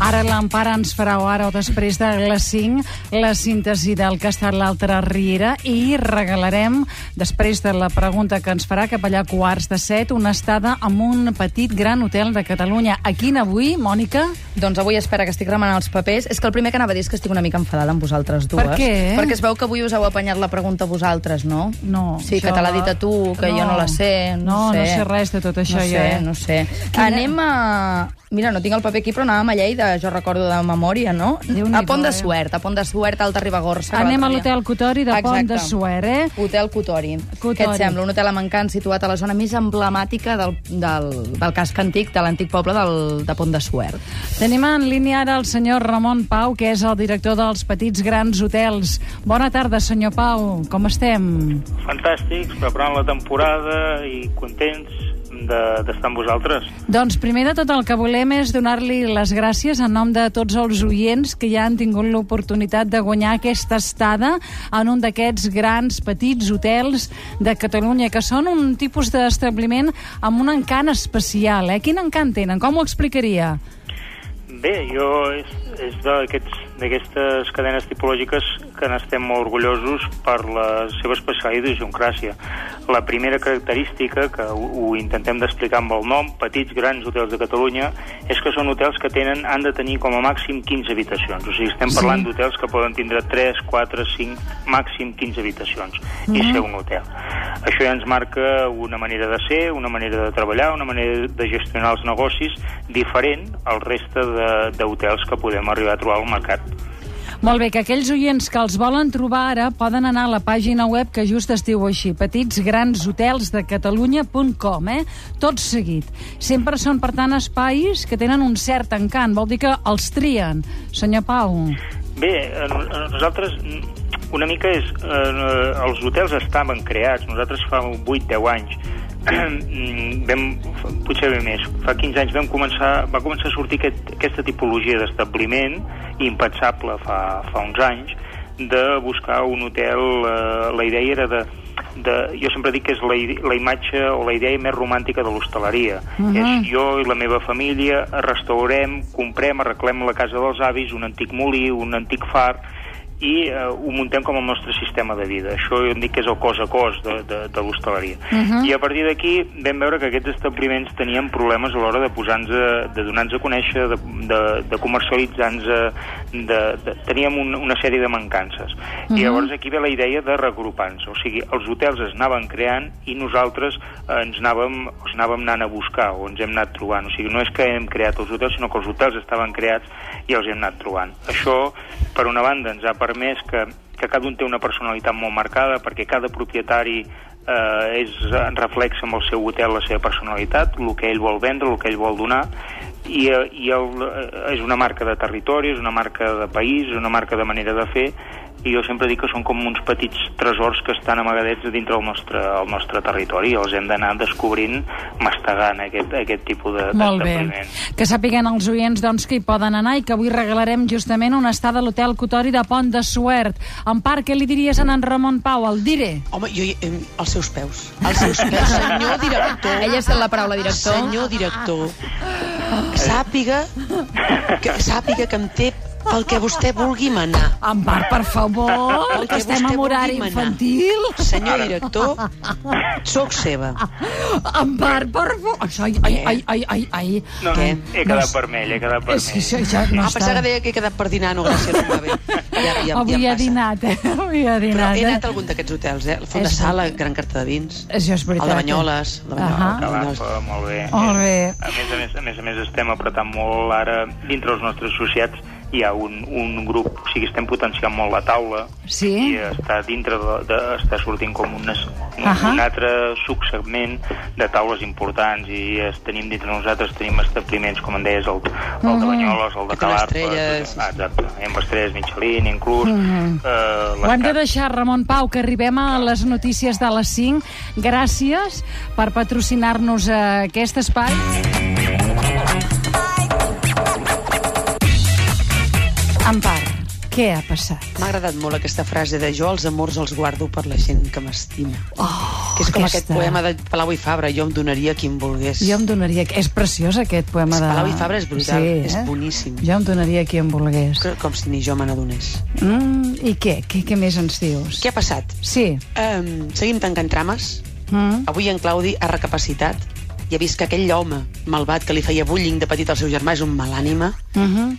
Ara l'Empara ens farà o ara o després de les 5 la síntesi del que ha estat l'altra Riera i regalarem, després de la pregunta que ens farà cap allà a quarts de 7, una estada amb un petit gran hotel de Catalunya. A quin avui, Mònica? Doncs avui, espera, que estic remenant els papers. És que el primer que anava a dir és que estic una mica enfadada amb vosaltres dues. Per què? Perquè es veu que avui us heu apanyat la pregunta vosaltres, no? No, Sí, això- que te l'ha dit a tu, que jo no la sé, No, no, no sé. sé res de tot això, no jo, Sé, eh? No sé, Anem a... Mira, no tinc el paper aquí, però anàvem a Lleida, jo recordo de memòria, no? Déu-n'hi-do, A eh? Pont de Suert, a Pont de Suert, Alta Ribagorça. que Anem a l'altre dia- l'hotel Cotori de Pont de Exacte. Suert, eh? Hotel Cotori. Cotori. Què et sembla? Un hotel a Mancant situat a la zona més emblemàtica del, del, del casc antic, de l'antic poble del, de Pont de Suert. Tenim en línia ara el senyor Ramon Pau, que és el director dels Petits Grans Hotels. Bona tarda, senyor Pau. Com estem? Fantàstics, preparant la temporada i contents de- d'estar amb vosaltres. Doncs primer de tot el que volem és donar-li les gràcies en nom de tots els oients que ja han tingut l'oportunitat de guanyar aquesta estada en un d'aquests grans petits hotels de Catalunya, que són un tipus d'establiment amb un encant especial. Eh? Quin encant tenen? Com ho explicaria? Bé, jo és, és d'aquests- d'aquestes cadenes tipològiques que n'estem molt orgullosos per la seva especialitat i idiosincràsia. La primera característica, que ho, ho intentem d'explicar amb el nom, petits, grans hotels de Catalunya, és que són hotels que tenen, han de tenir com a màxim 15 habitacions. O sigui, estem parlant d'hotels que poden tindre 3, 4, 5, màxim 15 habitacions i ser un hotel. Això ja ens marca una manera de ser, una manera de treballar, una manera de gestionar els negocis diferent al reste de- d'hotels que podem arribar a trobar al mercat. Molt bé, que aquells oients que els volen trobar ara poden anar a la pàgina web que just es diu així, petitsgranshotelsdecatalunya.com, eh? Tot seguit. Sempre són, per tant, espais que tenen un cert encant, vol dir que els trien. Senyor Pau, Bé, eh, no- eh, nosaltres mm, una mica és... Eh, eh, els hotels estaven creats, nosaltres fa 8-10 anys, mm, vam, fa- potser bé més, fa 15 anys vam començar, va començar a sortir aquest, aquesta tipologia d'establiment, impensable fa, fa uns anys, de buscar un hotel, eh, la idea era de, de, jo sempre dic que és la, i- la imatge o la idea més romàntica de l'hostaleria. Uh -huh. És jo i la meva família restaurem, comprem, arreglem la casa dels avis, un antic molí, un antic far, i eh, ho muntem com el nostre sistema de vida. Això jo em dic que és el cos a cos de, de, de l'hostaleria. Uh -huh. I a partir d'aquí vam veure que aquests establiments tenien problemes a l'hora de posar-nos, a- de donar-nos a conèixer, de, de, de comercialitzar-nos, a- de, de, teníem un, una sèrie de mancances. Uh -huh. I llavors aquí ve la idea de regrupar-nos. O sigui, els hotels es anaven creant i nosaltres eh, ens anàvem, els anàvem anant a buscar o ens hem anat trobant. O sigui, no és que hem creat els hotels, sinó que els hotels estaven creats i els hem anat trobant. Això, per una banda, ens ha permès que, que cada un té una personalitat molt marcada perquè cada propietari eh, és, en reflexa amb el seu hotel la seva personalitat, el que ell vol vendre, el que ell vol donar, i, eh, i el, eh, és una marca de territori, és una marca de país, és una marca de manera de fer, i jo sempre dic que són com uns petits tresors que estan amagadets dintre el nostre, el nostre territori, i els hem d'anar descobrint, mastegant aquest, aquest tipus de- molt bé. d'establiments. Que sàpiguen els oients doncs, que hi poden anar i que avui regalarem justament una estada a l'hotel Cotori de Pont de Suert. En part, què li diries a en Ramon Pau? El diré. Home, jo, hi- em, als seus peus. Als seus peus, senyor director. Ah, Ella és la paraula director. Senyor director. Sàpiga que, sàpiga que em té pel que vostè vulgui manar. En part, per favor, Pel que que estem vostè en horari vulgui manar. infantil. Senyor director, sóc seva. Ah, En part, per favor. Això, ai, Eh. ai, ai, ai, ai, ai. No, Què? he No quedat és- vermell, he quedat vermell. Doncs És que això ja no Ah, està... pensava que deia que he quedat per dinar, no, gràcies, no em va bé. Ja, ja, Avui ja ha em passa. dinat, eh? Avui ha Però dinat, he anat a eh? algun d'aquests hotels, eh? El Font de És- Sala, Gran Carta de Vins. Això és veritat. eh? El de Banyoles. El de Banyoles. Ahà. el de Banyoles. Calaf, molt bé. Molt bé. A més a més, a més a més, estem apretant molt ara, dintre els nostres associats, hi ha un, un grup, o sigui, estem potenciant molt la taula Sí? i està dintre de, de està sortint com un, es- un, Ahà. un altre subsegment de taules importants i es, tenim dintre nosaltres tenim establiments, com en deies, el, el de Banyoles, el de Que té les Calaf, estrelles. ah, exacte, amb estrelles, Michelin, inclús, eh, Ho hem de l'escat- deixar, Ramon Pau, que arribem a les notícies de les 5. Gràcies per patrocinar-nos eh, aquest espai. En part, què ha passat? M'ha agradat molt aquesta frase de jo els amors els guardo per la gent que m'estima. Oh. que és com aquesta. aquest poema de Palau i Fabra, jo em donaria qui em volgués. Jo em donaria... És preciós aquest poema És de... Palau i Fabra és brutal, sí, eh? és boníssim. Jo em donaria qui em volgués. Però Com si ni jo me n'adonés. Mm, I què? què? Què més ens dius? Què ha passat? Sí. Um, seguim tancant trames. Mm. Avui en Claudi ha recapacitat i ha vist que aquell home malvat que li feia bullying de petit al seu germà és un malànima. Mm -hmm. Mhm.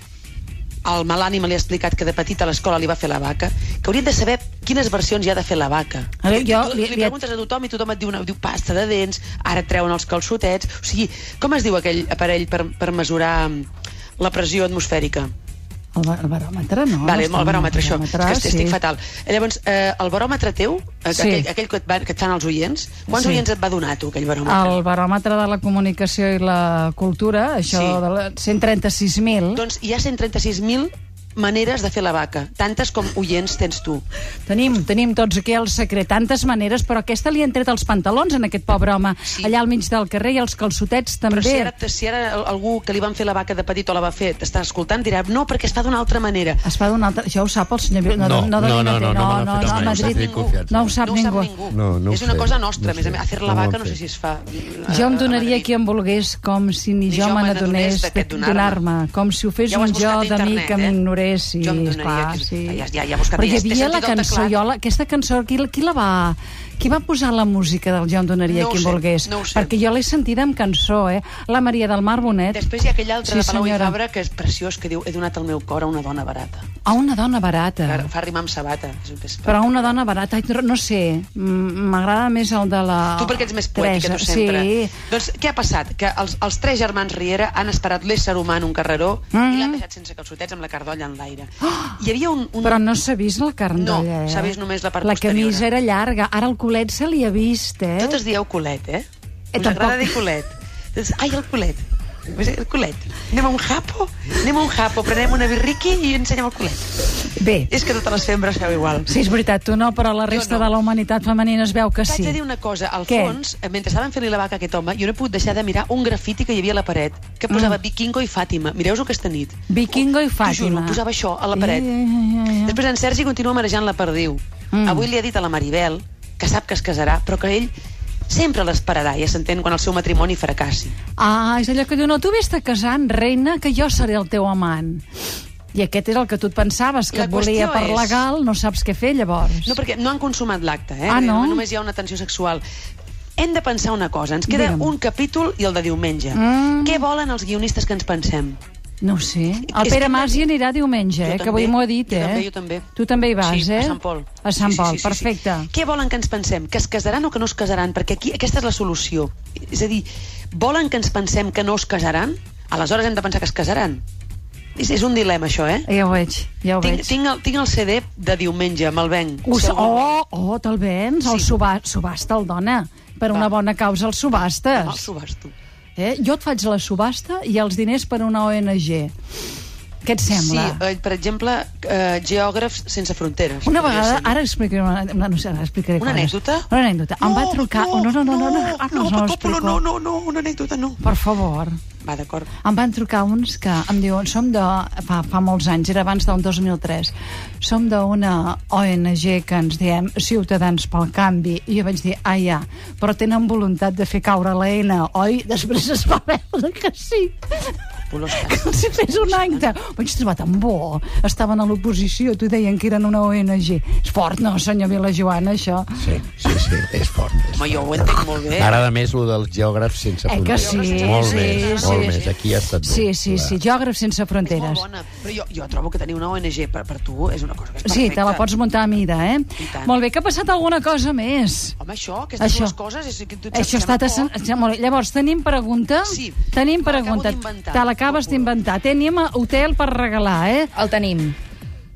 El malànima li ha explicat que de petit a l'escola li va fer la vaca, que hauríem de saber quines versions hi ha de fer la vaca. A veure, jo li, li- li- li preguntes a tothom i tothom et diu, una, diu pasta de dents, ara et treuen els calçotets... O sigui, com es diu aquell aparell per, per mesurar mm, la pressió atmosfèrica? El, ba- el baròmetre, no? Vale, Està el baròmetre, el això. És que estic fatal. Llavors, eh, el baròmetre teu, eh, Sí. sí. aquell, aquell que, et van, que et fan els oients, Sí. quants sí. oients et va donar, tu, aquell baròmetre? El baròmetre de la comunicació i la cultura, això Sí. de la... 136.000. Doncs hi ha 136.000 maneres de fer la vaca, tantes com oients tens tu. Tenim, tenim tots aquí el secret, tantes maneres, però aquesta li han tret els pantalons en aquest pobre home, sí. Sí. allà al mig del carrer i els calçotets també. Però si ara, si ara al- algú que li van fer la vaca de petit o la va fer t'està escoltant, dirà, no, perquè es fa d'una altra manera. Es fa d'una altra... Això ho sap el senyor... Vila- No, no, no, no, no, no, no, no me no, l'ha no, fet a mai, Madrid no sé, confiança. no ho sap no ho ningú. sap ningú. No, no ho és una sé, cosa nostra, no no més a sé, més. A fer no la ho vaca han no sé fet. si es fa... eh, Jo em a donaria Madrid. qui em volgués com si ni, Ni jo jo me me n'adonés n'adonés d'aquest d'aquest donar-me. donar-me, com si ho fes Ja ho un has jo buscat a de mi internet, que eh? m'ignorés. Sí, Jo em donaria esclar, que- Ah, sí. ja- ja- ja buscaries. Però hi Té havia la sentit el cançó, teclat? jo, la, aquesta cançó, qui, la- qui la va... Qui va posar la música del Jo em donaria No ho qui em sé, volgués? no ho sé. Perquè jo l'he sentida amb cançó, eh? La Maria del Mar Bonet. Després hi ha aquell Sí, altre sí, de Palau senyora. i Fabra que és preciós, que diu, he donat el meu cor a una dona barata. A una dona barata. Que fa rimar amb sabata. És, és, Però a una dona barata, ai, no sé, mm, m'agrada més el de la... Tu perquè ets més poètica, Teresa. tu sempre. Sí, Doncs què ha passat? Que els, els tres germans Riera han esperat l'ésser humà en un carreró Mhm. i l'han deixat sense calçotets amb la cardolla en l'aire. Hi havia un... un... Oh! però no s'ha vist la carn No, d'allà, eh? s'ha vist només la part La posterior. camisa era llarga, ara el colet se li ha vist, eh? Totes dieu culet, eh? Eh, Us agrada tampoc. dir culet. Doncs, ai, el culet. El culet. Anem a un japo? Anem a un japo, prenem una birriqui i ensenyem el culet. Bé, És que totes les fembres feu igual. sí, és veritat, tu no, però la resta no. de la humanitat femenina es veu que T'haig sí. de dir una cosa, al Què? fons, eh, mentre estaven fent-li la vaca a aquest home, jo no he pogut deixar de mirar un grafiti que hi havia a la paret, que posava mm. Vikingo i Fàtima. Mireu-vos aquesta nit. Vikingo i T'ho juro, Fàtima. posava això a la paret. Ai, ai, ai, ai. Després en Sergi continua marejant la perdiu. Mm. Mm. Avui li ha dit a la Maribel que sap que es casarà, però que ell sempre l'esperarà, ja s'entén, quan el seu matrimoni fracassi. Ah, és allò que diu, no, tu vés-te casant, reina, que jo seré el teu amant. I aquest era el que tu et pensaves, que La et volia qüestió per és- legal, no saps què fer, llavors. No, perquè no han consumat l'acte, eh? Ah, no? Només hi ha una tensió sexual. Hem de pensar una cosa, ens queda Digue'm. un capítol i el de diumenge. Mm. Què volen els guionistes que ens pensem? No ho sé. El És Pere que- Mas hi anirà diumenge, eh, Jo que avui també. m'ho ha dit. Jo eh? també, jo també. Tu també hi vas, sí, eh? a Sant Pol. A Sant Pol, perfecte. Sí. Què volen que ens pensem? Que es casaran o que no es casaran? Perquè aquí aquesta és la solució. És a dir, volen que ens pensem que no es casaran? Aleshores hem de pensar que es casaran. És, és un dilema, això, eh? Ja ho veig, ja ho Tinc, veig. tinc, el, tinc el CD de diumenge, me'l venc. Us, Si algú el vol. oh, oh, te'l vens? El Sí. suba, subasta el dona. Per una bona causa el Me'l subastes. subasto. Eh? Jo et faig la subhasta i els diners per una ONG. Què et sembla? Sí, eh, per exemple, eh, Geògrafs sense fronteres. Una podria vegada, ser. ara explicaré una, una, no sé, ara explicaré Una coses. anècdota? Una anècdota. em va trucar... oh, no, no, no, no, no, ah, no, no, no, explico. no, no, no, no, una anècdota no. Per favor. Va, d'acord. Em van trucar uns que em diuen, som de... Fa, fa molts anys, era abans del 2003. Som d'una ONG que ens diem Ciutadans pel Canvi. I jo vaig dir, ah, ja, però tenen voluntat de fer caure la N, oi? Després es va veure que sí. Olors Que els hi fes un acte. Ho Vaig trobar tan bo. Estaven a l'oposició, tu deien que eren una ONG. És fort, no, senyor Vilajoana, això? Sí, sí, sí, és fort. És Home, jo ho entenc molt bé. M'agrada més el dels geògrafs sense Eh que sí? Molt Sí, més, sí, molt sí. més. Aquí ha estat Sí, bé. sí, Clar. sí, geògrafs sense És molt fronteres. bona, però jo, jo trobo que tenir una ONG per, per tu és una cosa que és perfecta. Sí, te la pots muntar a mida, eh? tant. Molt bé, que ha passat alguna cosa més? Home, això, aquestes Això. això. dues coses... És, que tu et Això sembla està... poc. Sen... Molt bé. Llavors, tenim pregunta? Sí, Tenim me l'acabo pregunta. d'inventar. Te l'acabes d'inventar. Tenim hotel per regalar, eh? El tenim.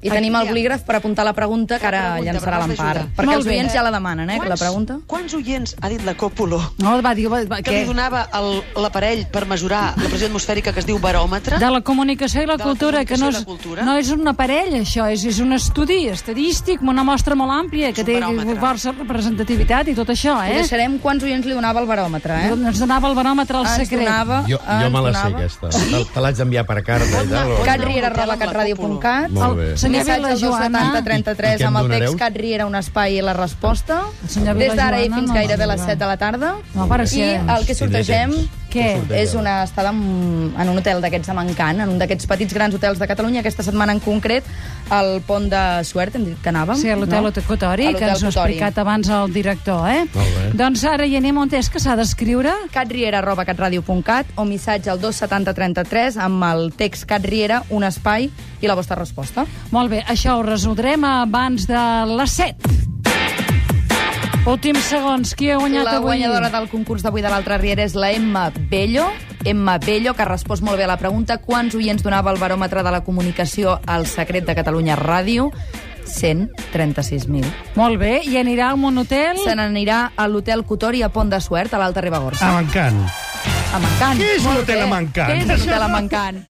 I Aquí tenim el hi ha. bolígraf per apuntar la pregunta que ara pregunta, llançarà però m'has l'Empar. d'ajudar. Perquè Molt els bé. oients ja la demanen, eh, Quants- la pregunta. Quants oients ha dit la Còpolo No, va dir... Va, va, que li què? donava el- l'aparell per mesurar la pressió atmosfèrica que es diu baròmetre? De la comunicació i la De la cultura, que no comunicació i és, la cultura. no és un aparell, això, és, és un estudi estadístic, una mostra molt àmplia, que un té baròmetre. força representativitat i tot això, Eh? eh? Doncs Deixarem quants oients li donava el baròmetre, eh? Ens donava el baròmetre al Ens secret. donava... Jo, jo ens me la sé, donava. aquesta. Te, te l'haig d'enviar per carta i tal. o- Catriera Hotel arroba amb la catradio punt cúpula. cat. Molt bé. El senyor missatge al Vilajoana. 270 I 33 què em amb el donareu? text Cat Riera, un espai i la resposta. El senyor Des d'ara i Vilajoana fins no gairebé a les arriba. 7 de la tarda. No apareixia. I el que sortegem Què? és una estada en, en un hotel d'aquests de Mancant, en un d'aquests petits grans hotels de Catalunya, aquesta setmana en concret, al pont de Suert, hem dit que anàvem. Sí, a l'hotel no? no? Cotori, A que l'hotel ens ho ha Cotori. explicat abans el director, eh? Molt bé. Doncs ara hi anem on és que s'ha d'escriure. catriera arroba catradio.cat o missatge al 27033 amb el text catriera, un espai i la vostra resposta. Molt bé, això ho resoldrem abans de les 7. Últims segons, qui ha guanyat La avui? guanyadora del concurs d'avui de l'altra Riera és la Emma Bello. Emma Bello, que ha respost molt bé a la pregunta quants oients donava el baròmetre de la comunicació al secret de Catalunya Ràdio? 136.000. Molt bé, i anirà a un hotel? Se n'anirà a l'hotel Cotori a Pont de Suert, a l'Alta Ribagorça. A Mancant. A Mancant. Què és Molt l'hotel bé. a Mancant? Què és l'hotel a Mancant?